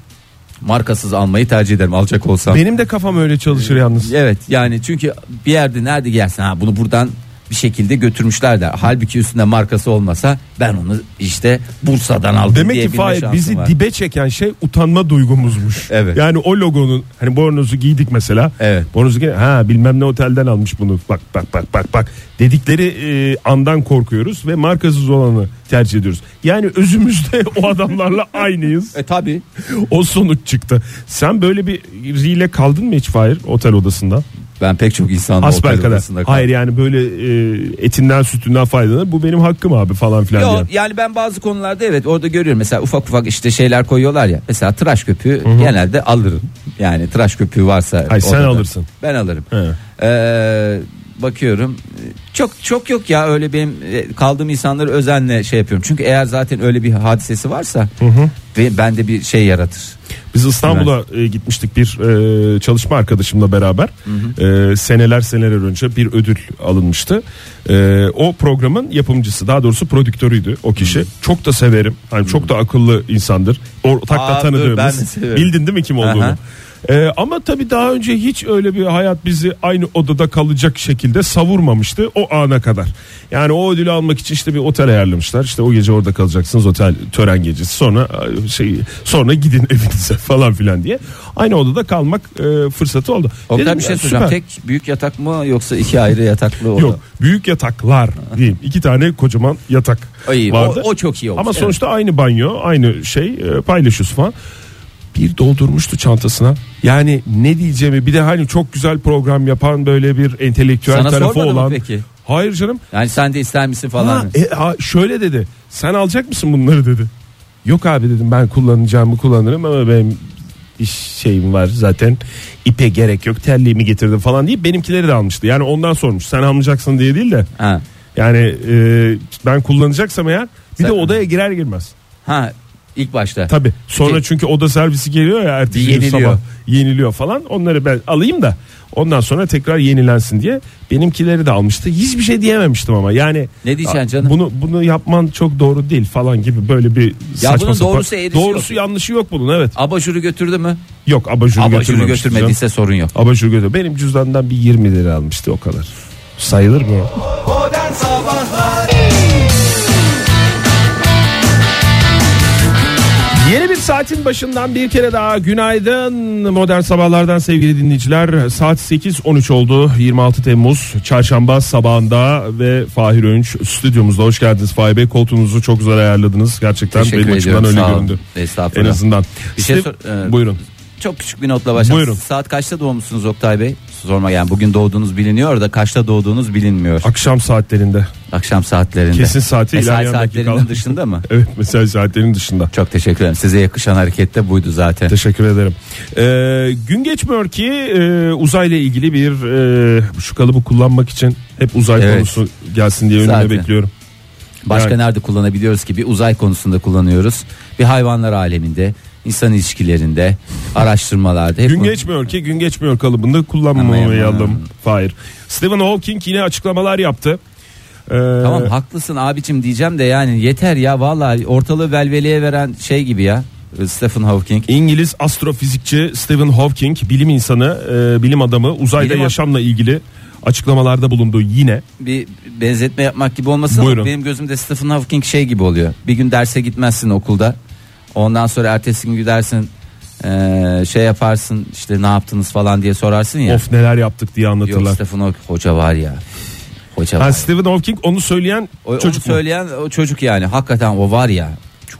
markasız almayı tercih ederim alacak olsam. Benim de kafam öyle çalışır yalnız. Evet yani çünkü bir yerde nerede gelsin ha bunu buradan bir şekilde götürmüşler de halbuki üstünde markası olmasa ben onu işte Bursa'dan aldım Demek diye ki Fahir bizi var. dibe çeken şey utanma duygumuzmuş. Evet. Yani o logonun hani bornozu giydik mesela. Evet. Bornozu giy- ha bilmem ne otelden almış bunu. Bak bak bak bak bak. Dedikleri e, andan korkuyoruz ve markasız olanı tercih ediyoruz. Yani özümüzde <laughs> o adamlarla aynıyız. E tabi O sonuç çıktı. Sen böyle bir riyle kaldın mı hiç Fahir otel odasında? ben pek çok insanla Asbel otel kadar. odasında kaldım. Hayır yani böyle e, etinden sütünden faydalanır. Bu benim hakkım abi falan filan. diyen. Yok yani ben bazı konularda evet orada görüyorum mesela ufak ufak işte şeyler koyuyorlar ya mesela tıraş köpüğü genelde alırım yani tıraş köpüğü varsa Hayır, sen odada. alırsın. ben alırım He. Ee, bakıyorum çok çok yok ya öyle benim e, kaldığım insanları özenle şey yapıyorum çünkü eğer zaten öyle bir hadisesi varsa ve bende bir şey yaratır Biz İstanbul'a e, gitmiştik bir e, çalışma arkadaşımla beraber. E, seneler seneler önce bir ödül alınmıştı. E, o programın yapımcısı daha doğrusu prodüktörüydü o kişi. Çok da severim. Hani çok da akıllı insandır. Ortak da Aa, dur, ben de tanıdığımız. severim. Bildin değil mi kim olduğunu? Aha. E, ama tabii daha önce hiç öyle bir hayat bizi aynı odada kalacak şekilde savurmamıştı o ana kadar. Yani o ödülü almak için işte bir otel ayarlamışlar. İşte o gece orada kalacaksınız otel tören gecesi. Sonra e, şey sonra gidin <laughs> evinize falan filan diye. Aynı odada kalmak e, fırsatı oldu. Oktay Dedim, bir şey ya, soracağım süper. tek büyük yatak mı yoksa iki ayrı yataklı oda? Yok büyük yataklar diyeyim. İki tane kocaman yatak Ay, o- vardı. o çok iyi olmuş. Ama Evet. sonuçta aynı banyo aynı şey e, paylaşıyorsun falan. Bir doldurmuştu çantasına. Yani ne diyeceğimi bir de hani çok güzel program yapan böyle bir entelektüel Sana tarafı sormadı mı olan. peki? Hayır canım. Yani sen de ister misin falan. Ha, e, ha, şöyle dedi. Sen alacak mısın bunları dedi. Yok abi dedim ben kullanacağımı kullanırım ama benim iş şeyim var zaten ipe gerek yok terliğimi getirdim falan deyip benimkileri de almıştı. Yani ondan sormuş sen almayacaksın diye değil de Ha. yani e, ben kullanacaksam eğer bir de Sen- odaya girer girmez. ha ilk başta. Tabi sonra Peki. çünkü oda servisi geliyor ya ertesi gün Yeniliyor. sabah yeniliyor falan onları ben alayım da ondan sonra tekrar yenilensin diye benimkileri de almıştı. Hiçbir şey diyememiştim ama yani Ne diyeceksin "Aa, canım?" Bunu bunu yapman çok doğru değil falan gibi böyle bir saçma bunun sapan- doğrusu eğrisi doğrusu yok. yanlışı yok bunun evet. Abajuru götürdü mü? Yok abajuru, Abajuru götürmemişti canım. götürmediyse sorun yok. Abajuru götür. Benim cüzdandan bir 20 lira almıştı o kadar. Sayılır mı? o? Modern Sabahlar Yeni bir saatin başından bir kere daha günaydın modern sabahlardan sevgili dinleyiciler. Saat 8.13 oldu 26 Temmuz çarşamba sabahında ve Fahir Önç stüdyomuzda hoş geldiniz. Fahir Bey koltuğunuzu çok güzel ayarladınız gerçekten Teşekkür benim açımdan ediyorum, öyle sağ olun. göründü. En Estağfurullah. azından. Bir şey Steve- sor- e, buyurun. Çok küçük bir notla başlayalım. Buyurun. Saat kaçta doğmuşsunuz Oktay Bey? Sorma yani bugün doğduğunuz biliniyor da kaçta doğduğunuz bilinmiyor. Akşam saatlerinde. Akşam saatlerinde. Kesin saati Mesai ilerleyen saatlerinin dakikalar. dışında mı? Evet mesai saatlerinin dışında. Çok teşekkür ederim. Size yakışan hareket de buydu zaten. Teşekkür ederim. Ee, gün geçmiyor ki e, uzayla ilgili bir e, şu kalıbı kullanmak için hep uzay Evet. konusu gelsin diye önüme Zaten. bekliyorum. Başka Yani. nerede kullanabiliyoruz ki? Bir uzay konusunda kullanıyoruz. Bir hayvanlar aleminde, insan ilişkilerinde, araştırmalarda. Hep Gün bu- geçmiyor ki gün geçmiyor kalıbında Aman, kullanmayalım. aman. Hayır. Stephen Hawking yine açıklamalar yaptı. Ee, Tamam haklısın abicim diyeceğim de yani yeter ya vallahi ortalığı velveleye veren şey gibi ya. Stephen Hawking. İngiliz astrofizikçi Stephen Hawking bilim insanı, e, bilim adamı uzayda Bilim ad- yaşamla ilgili açıklamalarda bulundu yine. bir benzetme yapmak gibi olmasın Buyurun. ama benim gözümde Stephen Hawking şey gibi oluyor. Bir gün derse gitmezsin okulda. Ondan sonra ertesi gün gidersin eee, şey yaparsın işte ne yaptınız falan diye sorarsın ya. Of neler yaptık diye Yok anlatırlar. Stephen Hawking hoca var ya. Hoca var. Ha, Stephen Hawking onu söyleyen O- onu çocuk mu? söyleyen o çocuk yani hakikaten o var ya.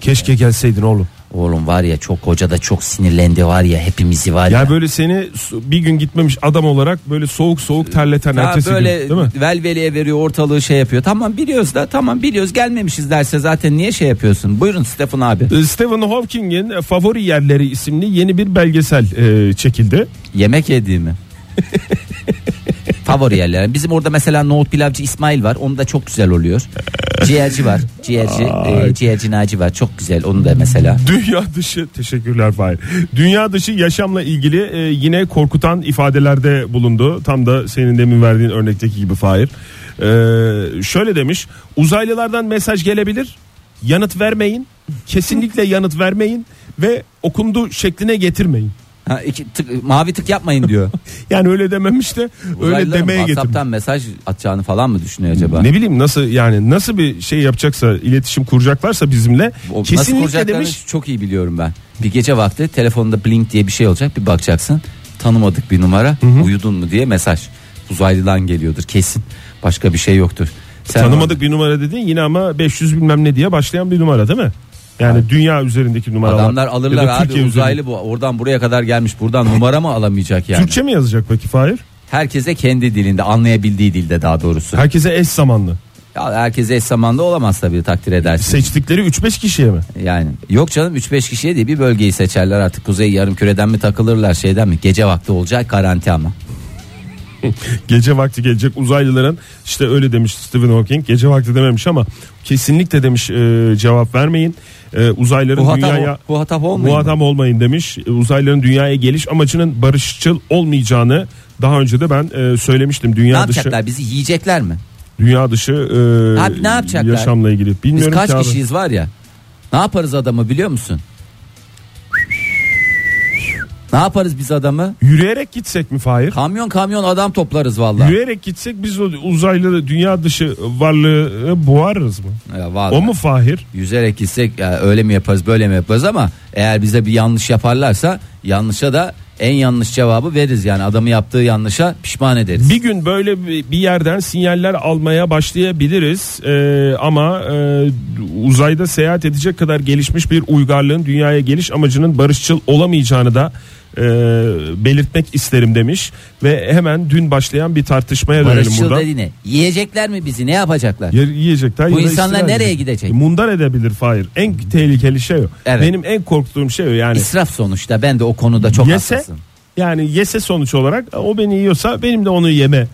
Keşke gelseydin oğlum. Oğlum var ya çok hoca da çok sinirlendi var ya hepimizi var Ya ya. böyle seni su- bir gün gitmemiş adam olarak böyle soğuk soğuk terleten Ha, ertesi böyle gün değil mi? velveleye veriyor ortalığı şey yapıyor. Tamam biliyoruz da tamam biliyoruz gelmemişiz derse zaten niye şey yapıyorsun? Buyurun Stephen abi. E, Stephen Hawking'in e, Favori Yerleri isimli yeni bir belgesel e, çekildi. <laughs> Yemek yediğimi. Favori yerler. Bizim orada mesela nohut pilavcı İsmail var. Onu da çok güzel oluyor. Ciğerci var. Ciğerci, e, ciğerci Naci var. Çok güzel. Onu da mesela. Dünya dışı teşekkürler Fahir. Dünya dışı yaşamla ilgili e, yine korkutan ifadelerde bulundu. Tam da senin demin verdiğin örnekteki gibi Fahir. E, şöyle demiş uzaylılardan mesaj gelebilir yanıt vermeyin kesinlikle yanıt vermeyin ve okundu şekline getirmeyin. <laughs> Ha, iki tık, mavi tık yapmayın diyor. Yani öyle dememiş de <laughs> öyle Uzaylıların demeye getirmiş. WhatsApp'tan mesaj atacağını falan mı düşünüyor acaba? Ne bileyim nasıl yani nasıl bir şey yapacaksa iletişim kuracaklarsa bizimle O nasıl kesinlikle kuracaklarını demiş çok iyi biliyorum ben. Bir gece vakti telefonda blink diye bir şey olacak. Bir bakacaksın. Tanımadık bir numara. Uyudun mu diye mesaj. Uzaylıdan geliyordur kesin. Başka bir şey yoktur. Sen tanımadık bir numara dedin yine ama 500 bilmem ne diye başlayan bir numara değil mi? Yani dünya üzerindeki numaralar. Adamlar alırlar ya da abi Türkiye üzerinde. uzaylı bu. Oradan buraya kadar gelmiş. Buradan numara mı alamayacak yani? Türkçe mi yazacak peki Fahir? Herkese kendi dilinde anlayabildiği dilde daha doğrusu. Herkese eş zamanlı. Ya herkese eş zamanda olamaz tabii takdir edersin. Seçtikleri 3-5 kişiye <laughs> mi? yani yok canım 3-5 kişiye değil bir bölgeyi seçerler artık. Kuzey yarım küreden mi takılırlar şeyden mi? Gece vakti olacak garanti ama. Gece vakti gelecek uzaylıların işte öyle demiş Stephen Hawking. Gece vakti dememiş ama kesinlikle demiş e, cevap vermeyin. E, uzaylıların Muhatap, dünyaya muhatap olmayın. Bu adam olmayın demiş. E, Uzaylıların dünyaya geliş amacının barışçıl olmayacağını daha önce de ben e, söylemiştim. ne Dünya dışı yapacaklar bizi yiyecekler mi? dünya dışı e, Abi ne yapacaklar? yaşamla ilgili. Biz Bilmiyorum kaç ki abi. kişiyiz var ya. Ne yaparız adamı biliyor musun? Ne yaparız biz adamı? Yürüyerek gitsek mi Fahir? Kamyon kamyon adam toplarız vallahi. Yürüyerek gitsek biz o uzaylı dünya dışı varlığı e, boğarız mı? Ya vallahi. O mu Fahir? Yüzerek gitsek ya öyle mi yaparız böyle mi yaparız ama eğer bize bir yanlış yaparlarsa yanlışa da en yanlış cevabı veririz. Yani adamı yaptığı yanlışa pişman ederiz. Bir gün böyle bir bir yerden sinyaller almaya başlayabiliriz Ee, ama e, uzayda seyahat edecek kadar gelişmiş bir uygarlığın dünyaya geliş amacının barışçıl olamayacağını da e, belirtmek isterim demiş ve hemen dün başlayan bir tartışmaya dönelim Barışçıl buradan. dediğine yiyecekler mi bizi ne yapacaklar? Yer- yiyecekler. Bu ya da insanlar istila nereye gidecek? Mundar edebilir Fahir. En tehlikeli şey o. Evet. Benim en korktuğum şey o yani. İsraf sonuçta ben de o konuda çok yese hassasım. yani yese sonuç olarak o beni yiyorsa benim de onu yeme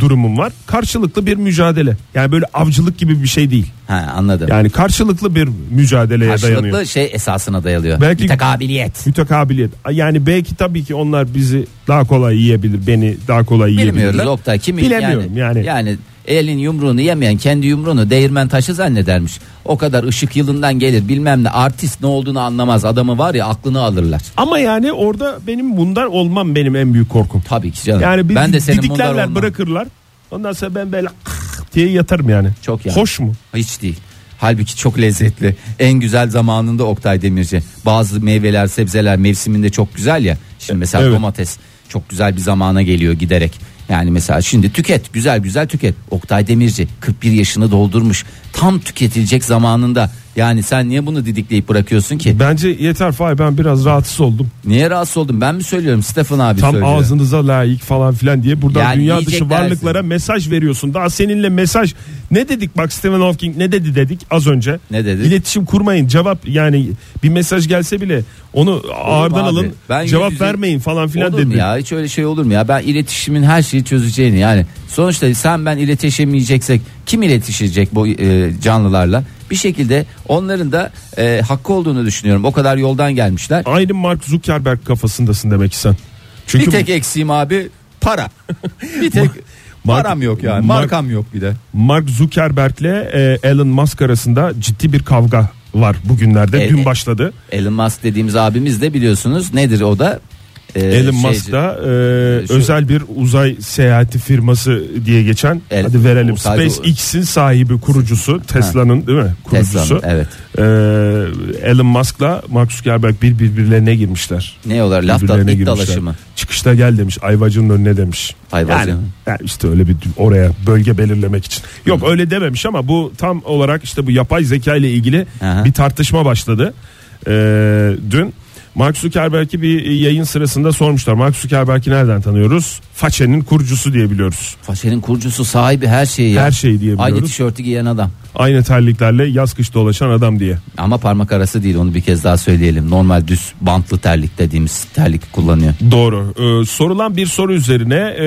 durumum var. Karşılıklı bir mücadele. Yani böyle avcılık gibi bir şey değil. Ha anladım. Yani karşılıklı bir mücadeleye dayanıyor. Karşılıklı şey esasına dayalıyor. Belki- Mütekabiliyet. Mütekabiliyet. Yani belki tabii ki onlar bizi daha kolay yiyebilir. Beni daha kolay Bilmiyoruz yiyebilirler. Oktay kimin Bilemiyorum yani. yani. elin yumruğunu yemeyen kendi yumruğunu değirmen taşı zannedermiş. O kadar ışık yılından gelir bilmem ne artist ne olduğunu anlamaz adamı var ya aklını alırlar. Ama yani orada benim bundan olmam benim en büyük korkum. Tabii ki canım. Yani bir ben de senin bunlar didiklerler olmam. bırakırlar. Ondan sonra ben böyle <laughs> diye yatarım yani. Çok yani. Hoş mu? Hiç değil. Halbuki çok lezzetli. En güzel zamanında Oktay Demirci. Bazı meyveler, sebzeler mevsiminde çok güzel ya. Şimdi mesela Evet. domates çok güzel bir zamana geliyor giderek. Yani mesela şimdi tüket, güzel güzel tüket. Oktay Demirci 41 yaşını doldurmuş. Tam tüketilecek zamanında Yani sen niye bunu didikleyip bırakıyorsun ki? Bence yeter Fahir ben biraz rahatsız oldum. Niye rahatsız oldum? Ben mi söylüyorum? Stefan abi Tam söylüyor. ağzınıza layık falan filan diye buradan Yani dünya yiyecek dışı dersin. varlıklara mesaj veriyorsun. Daha seninle mesaj ne dedik bak Stephen Hawking ne dedi dedik az önce. Ne dedi? İletişim kurmayın cevap yani bir mesaj gelse bile onu ağırdan abi, alın ben cevap yüz yüze- vermeyin falan filan Olur mu dedi. ya hiç öyle şey olur mu ya ben iletişimin her şeyi çözeceğini yani sonuçta sen ben iletişemeyeceksek kim iletişecek bu e, canlılarla bir şekilde onların da e, hakkı olduğunu düşünüyorum o kadar yoldan gelmişler Aynı Mark Zuckerberg kafasındasın demek ki sen. Çünkü bir tek eksiğim abi <laughs> para bir tek Mark- param yok yani Mark- markam yok bir de Mark Zuckerberg'le e, Elon Musk arasında ciddi bir kavga var bugünlerde. E, Dün e, başladı. Elon Musk dediğimiz abimiz de biliyorsunuz nedir o da E, Elon şeyci- Musk da e, şu- özel bir uzay seyahati firması diye geçen El- hadi verelim uzay- SpaceX'in sahibi kurucusu Tesla'nın değil mi? Tesla'nın, Kurucusu. evet E, Elon Musk'la Mark Zuckerberg bir birbirlerine girmişler. ne diyorlar laf da Birbirlerine it girmişler. dalaşı mı Çıkışta gel demiş ayvacının önüne demiş. Ayvacı Yani, mı? yani işte öyle bir oraya bölge belirlemek için. Yok öyle dememiş ama bu tam olarak işte bu yapay zeka ile ilgili Aha. bir tartışma başladı. Ee, dün Mark Zuckerberg'i bir yayın sırasında sormuşlar. Mark Zuckerberg'i nereden tanıyoruz? Façe'nin kurucusu diye biliyoruz. Faşenin kurucusu sahibi her şeyi ya. Her şeyi diye Aynı biliyoruz. tişörtü giyen adam. Aynı terliklerle yaz kış dolaşan adam diye. Ama parmak arası değil onu bir kez daha söyleyelim. Normal düz bantlı terlik dediğimiz terlik kullanıyor. Doğru. Ee, sorulan bir soru üzerine e,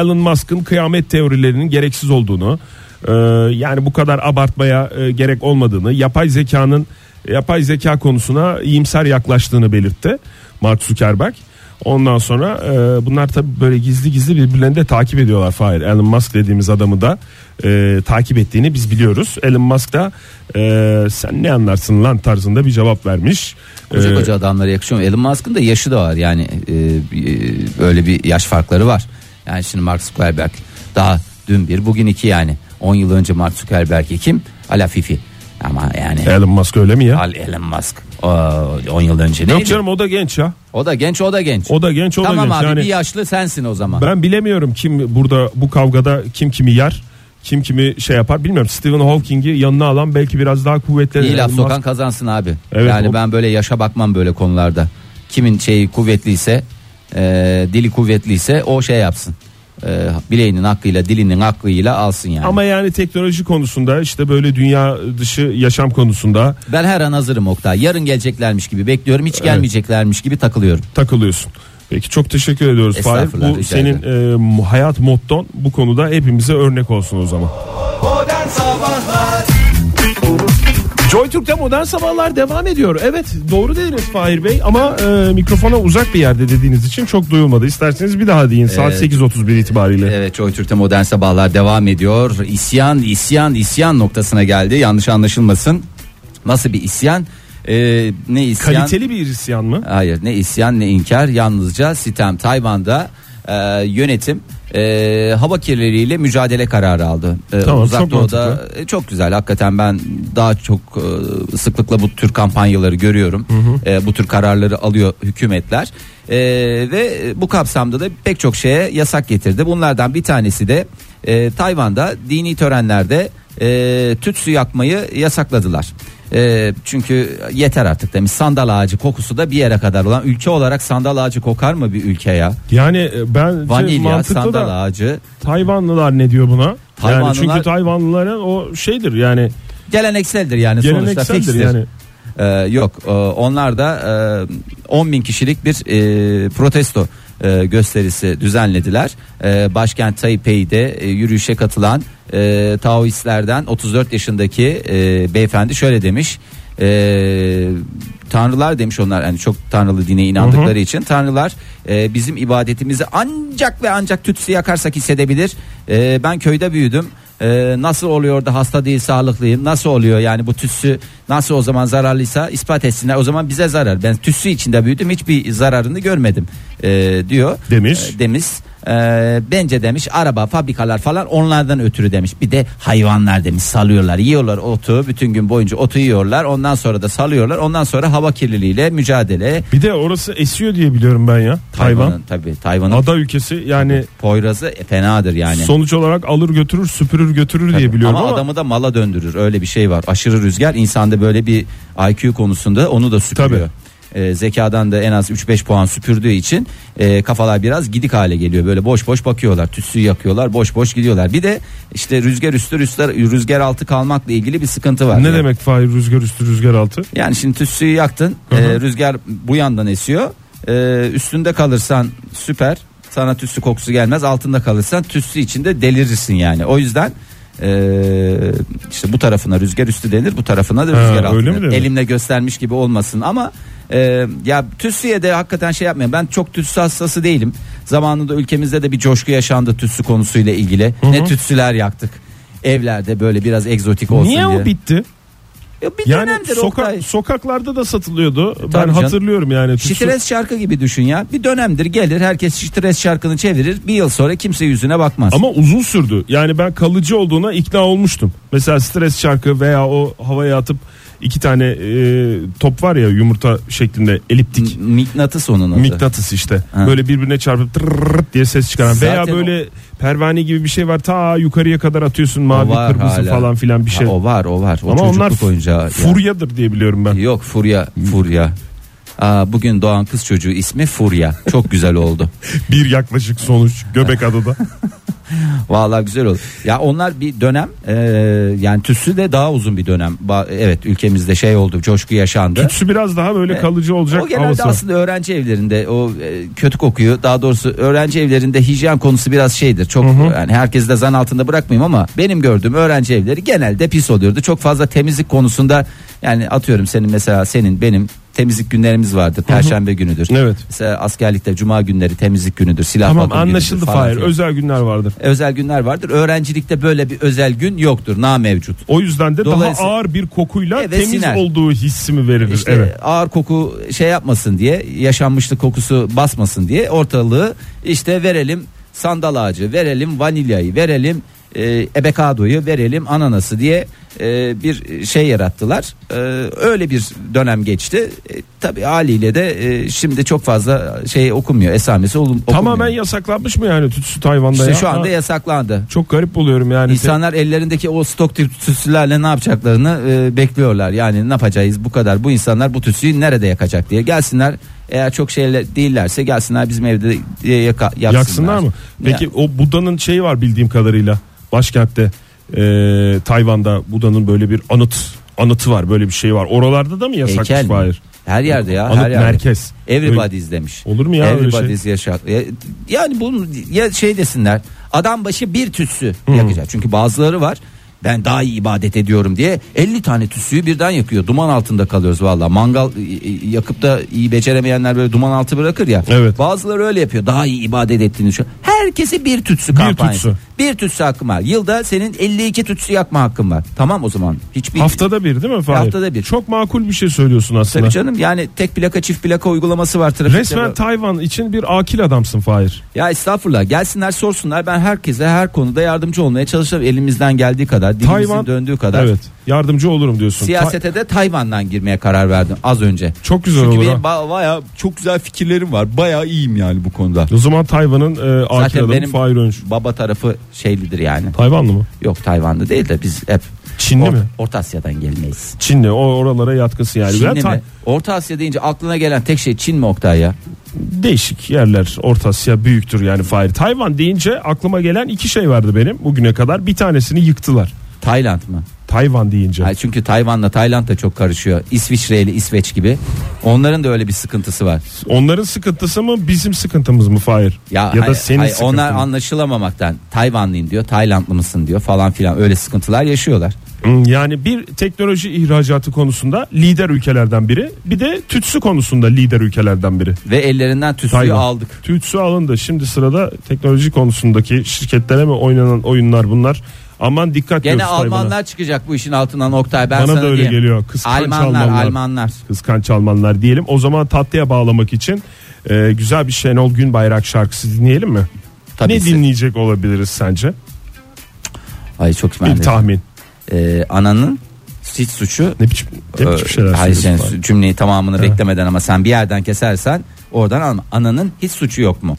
Elon Musk'ın kıyamet teorilerinin gereksiz olduğunu, e, yani bu kadar abartmaya e, gerek olmadığını, yapay zekanın yapay zeka konusuna iyimser yaklaştığını belirtti Mark Zuckerberg. Ondan sonra e, bunlar tabi böyle gizli gizli birbirlerini de takip ediyorlar Fahir. Elon Musk dediğimiz adamı da e, takip ettiğini biz biliyoruz. Elon Musk da e, sen ne anlarsın lan tarzında bir cevap vermiş. Koca E, koca adamlara yakışıyor. mu? Elon Musk'ın da yaşı da var yani e, e, böyle bir yaş farkları var. Yani şimdi Mark Zuckerberg daha dün bir bugün iki yani. 10 yıl önce Mark Zuckerberg kim? Alafifi. Ama yani Elon Musk öyle mi ya? Al Elon Musk o, 10 yıl önce Yok neydi? canım o da genç ya. O da genç o da genç. O da genç o da tamam genç. abi yani bir yaşlı sensin o zaman. ben bilemiyorum kim burada bu kavgada kim kimi yer. Kim kimi şey yapar bilmiyorum. Stephen Hawking'i yanına alan belki biraz daha kuvvetli. İyi laf Elon sokan Musk- kazansın abi. Ee, Evet, yani o- ben böyle yaşa bakmam böyle konularda. Kimin şeyi kuvvetliyse, e, dili kuvvetliyse o şey yapsın. E, bileğinin hakkıyla, dilinin hakkıyla alsın yani. Ama yani teknoloji konusunda işte böyle dünya dışı yaşam konusunda Ben her an hazırım Oktay. Yarın geleceklermiş gibi bekliyorum. Hiç gelmeyeceklermiş gibi takılıyorum. takılıyorsun. Peki çok teşekkür ediyoruz Fahir. Estağfurullah, Bu rica senin e, hayat motton bu konuda hepimize örnek olsun o zaman. Modern Sabahlar Joy Türk'te modern sabahlar devam ediyor. Evet doğru dediniz Fahir Bey ama e, mikrofona uzak bir yerde dediğiniz için çok duyulmadı. İsterseniz bir daha deyin saat 8.31 itibariyle. Evet Joy Türk'te modern sabahlar devam ediyor. İsyan, isyan, isyan noktasına geldi. Yanlış anlaşılmasın. Nasıl bir isyan? E, ne isyan? Kaliteli bir isyan mı? Hayır ne isyan ne inkar yalnızca sitem Tayvan'da e, yönetim e, hava kirliliğiyle mücadele kararı aldı. E, Tamam, Uzak çok Doğu'da mantıklı. e, çok güzel hakikaten ben daha çok e, sıklıkla bu tür kampanyaları görüyorum. E, bu tür kararları alıyor hükümetler. E, ve bu kapsamda da pek çok şeye yasak getirdi. Bunlardan bir tanesi de e, Tayvan'da dini törenlerde e, tütsü yakmayı yasakladılar. E, çünkü yeter artık demiş sandal ağacı kokusu da bir yere kadar olan ülke olarak sandal ağacı kokar mı bir ülke ya? Yani ben Vanilya, Şey, mantıklı sandal da ağacı. Tayvanlılar ne diyor buna? Tayvanlılar- Yani çünkü Tayvanlıların o şeydir yani Gelenekseldir yani sonuçta gelenekseldir fikstir. yani. Ee, yok e, onlar da e, 10 bin kişilik bir e, protesto e, gösterisi düzenlediler. E, başkent Taipei'de e, yürüyüşe katılan e, Taoistlerden 34 yaşındaki e, beyefendi şöyle demiş. E, tanrılar demiş onlar yani çok tanrılı dine inandıkları için tanrılar e, bizim ibadetimizi ancak ve ancak tütsü yakarsak hissedebilir. E, ben köyde büyüdüm. Ee, nasıl oluyor da hasta değil sağlıklıyım nasıl oluyor yani bu tütsü nasıl o zaman zararlıysa ispat etsinler o zaman bize zarar ben tütsü içinde büyüdüm hiçbir zararını görmedim ee, diyor Demiş. Ee, demiş Ee, bence demiş araba fabrikalar falan onlardan ötürü demiş. Bir de hayvanlar demiş salıyorlar yiyorlar otu bütün gün boyunca otu yiyorlar ondan sonra da salıyorlar ondan sonra hava kirliliğiyle mücadele. Bir de orası esiyor diye biliyorum ben ya. Tayvan. Tabii Tayvan'ın Ada ülkesi yani poyrazı e, fenadır yani. sonuç olarak alır götürür süpürür götürür diye biliyorum ama, ama, adamı da mala döndürür öyle bir şey var. Aşırı rüzgar insanda böyle bir IQ konusunda onu da süpürüyor. Ee, zekadan da en az 3-5 puan süpürdüğü için e, kafalar biraz gidik hale geliyor. Böyle boş boş bakıyorlar tütsü yakıyorlar boş boş gidiyorlar. Bir de işte rüzgar üstü rüzgar, rüzgar altı kalmakla ilgili bir sıkıntı var. ne Yani- demek Fahir rüzgar üstü rüzgar altı? Yani şimdi tütsüyü yaktın Hı hı. e, rüzgar bu yandan esiyor E, üstünde kalırsan süper sana tütsü kokusu gelmez altında kalırsan tütsü içinde delirirsin yani o yüzden e, işte bu tarafına rüzgar üstü denir bu tarafına da Ha, rüzgar altı öyle mi denir. denir? elimle göstermiş gibi olmasın ama e, ya tütsüye de hakikaten şey yapmayın ben çok tütsü hastası değilim zamanında ülkemizde de bir coşku yaşandı tütsü konusuyla ilgili Hı hı. ne tütsüler yaktık evlerde böyle biraz egzotik olsun Niye diye. o bitti? Ya bir Yani dönemdir soka- Oktay. sokaklarda da satılıyordu. ben canım. hatırlıyorum yani. tütsü- Şitres şarkı gibi düşün ya. Bir dönemdir gelir herkes şitres şarkını çevirir. Bir yıl sonra kimse yüzüne bakmaz. Ama uzun sürdü. Yani ben kalıcı olduğuna ikna olmuştum. Mesela stres şarkı veya o havaya atıp iki tane e, top var ya yumurta şeklinde eliptik. M- Mıknatıs onun adı. Mıknatıs işte. Ha. Böyle birbirine çarpıp tırrrt diye ses çıkaran. veya Zaten böyle pervane gibi bir şey var. Ta yukarıya kadar atıyorsun mavi var kırmızı hala. falan filan bir şey. Ha, o var o var. O Ama çocukluk onlar oyuncağı. ya. furyadır diye biliyorum ben. Yok furya furya. Aa, bugün doğan kız çocuğu ismi Furya. Çok <laughs> güzel oldu. Bir yaklaşık sonuç <laughs> Göbekada'da. Vallahi güzel oldu. Ya onlar bir dönem e, yani tüsü de daha uzun bir dönem. Ba- evet ülkemizde şey oldu coşku yaşandı. Tütsü biraz daha böyle kalıcı E, O olacak genelde havası. var. aslında öğrenci evlerinde o e, kötü kokuyu daha doğrusu öğrenci evlerinde hijyen konusu biraz şeydir. Çok yani herkesi de zan altında bırakmayayım ama benim gördüğüm öğrenci evleri genelde pis oluyordu. Çok fazla temizlik konusunda yani atıyorum senin mesela senin benim temizlik günlerimiz vardır. Perşembe günüdür. Evet. Mesela askerlikte cuma günleri temizlik günüdür. Silah Tamam bakım günüdür anlaşıldı falan Fahir. filan. Özel günler vardır. özel günler vardır. Öğrencilikte böyle bir özel gün yoktur. Na mevcut. O yüzden de daha Dolayısıyla- ağır bir kokuyla Evet, temiz siner. olduğu hissimi verir. İşte evet. ağır koku şey yapmasın diye yaşanmışlık kokusu basmasın diye ortalığı işte verelim sandal ağacı verelim vanilyayı verelim e, ebekadoyu verelim ananası diye e, bir şey yarattılar. E, öyle bir dönem geçti. E, tabii haliyle de e, şimdi çok fazla şey okunmuyor esamesi olun, okunmuyor. Tamamen yasaklanmış mı yani tütsü Tayvan'da İşte ya? şu anda Ha, yasaklandı. çok garip buluyorum yani. İnsanlar ellerindeki o stok tip tütsülerle ne yapacaklarını e, bekliyorlar. Yani ne yapacağız bu kadar bu insanlar bu tütsüyü nerede yakacak diye gelsinler. Eğer çok şeyler değillerse gelsinler bizim evde e, yaka, Te- yaksınlar. yaksınlar mı? Peki Ya, o Buda'nın şeyi var bildiğim kadarıyla başkentte e, Tayvan'da Buda'nın böyle bir anıt anıtı var böyle bir şey var. Oralarda da mı yasakmış heykel mi? Fahir? Her yerde ya Anıt her yerde. merkez. Everybody izlemiş. Olur mu ya öyle şey? Everybody's yaşa- Ya- Yani bunu ya şey desinler. Adam başı bir tütsü yakacak. Çünkü bazıları var. Ben daha iyi ibadet ediyorum diye 50 tane tütsüyü birden yakıyor. Duman altında kalıyoruz valla. Mangal e, e, yakıp da iyi beceremeyenler böyle duman altı bırakır ya. Evet. Bazıları öyle yapıyor. Daha iyi ibadet ettiğini düşün. Herkese bir tütsü kampanyası. tütsü. Bir tütsü hakkım var. Yılda senin 52 tütsü yakma hakkın var. Tamam o zaman. Hiçbir Haftada bir değil mi Fahir? Haftada bir. Çok makul bir şey söylüyorsun aslında. Tabii canım yani tek plaka çift plaka uygulaması var trafikte. Resmen Tayvan için bir akil adamsın Fahir. Ya estağfurullah gelsinler sorsunlar ben herkese her konuda yardımcı olmaya çalışırım elimizden geldiği kadar dilimizin Tayvan döndüğü kadar. Evet. Yardımcı olurum diyorsun. Siyasete de Tayvan'dan girmeye karar verdim az önce. Çok güzel Çünkü olur benim ha. ba- bayağı çok güzel fikirlerim var. Bayağı iyiyim yani bu konuda. O zaman Tayvan'ın e, akil Zaten adamı benim Fahir Öncü. baba tarafı şeylidir yani. Tayvanlı mı? Yok Tayvanlı değil de biz hep Çinli Or- mi? Orta Asya'dan gelmeyiz. Çinli. O oralara yatkısı yani. Çinli Ben Tay- mi? Orta Asya deyince aklına gelen tek şey Çin mi Oktay ya? Değişik yerler. Orta Asya büyüktür yani Fahir. Tayvan deyince aklıma gelen iki şey vardı benim bugüne kadar. Bir tanesini yıktılar. Tayland mı? Tayvan deyince. Hayır, çünkü Tayvan'la Tayland da çok karışıyor. İsviçre ile İsveç gibi. Onların da öyle bir sıkıntısı var. Onların sıkıntısı mı bizim sıkıntımız mı Fahir? Ya, da hayır- senin hayır, sıkıntın onlar mı? anlaşılamamaktan Tayvanlıyım diyor, Taylandlı mısın diyor falan filan öyle sıkıntılar yaşıyorlar. Hmm, Yani bir teknoloji ihracatı konusunda lider ülkelerden biri. Bir de tütsü konusunda lider ülkelerden biri. Ve ellerinden tütsüyü Tayvan. aldık. Tütsü alındı. Şimdi sırada teknoloji konusundaki şirketlere mi oynanan oyunlar bunlar. Aman dikkat Gene diyoruz Tayvan'a. Almanlar çıkacak bu işin altından Oktay ben Bana sana da öyle diyeyim. geliyor. Kıskanç Almanlar, Almanlar. Almanlar. Kıskanç Almanlar diyelim. O zaman tatlıya bağlamak için e, güzel bir Şenol Günbayrak şarkısı dinleyelim mi? Tabii ne ki. dinleyecek olabiliriz sence? Ay çok Bir merak ettim. tahmin. Ee, ananın hiç suçu Ne biçim, ne biçim Ee, şeyler hayır, söylüyorsun sen abi? cümleyi tamamını beklemeden ama sen bir yerden kesersen oradan alma. Ananın hiç suçu yok mu?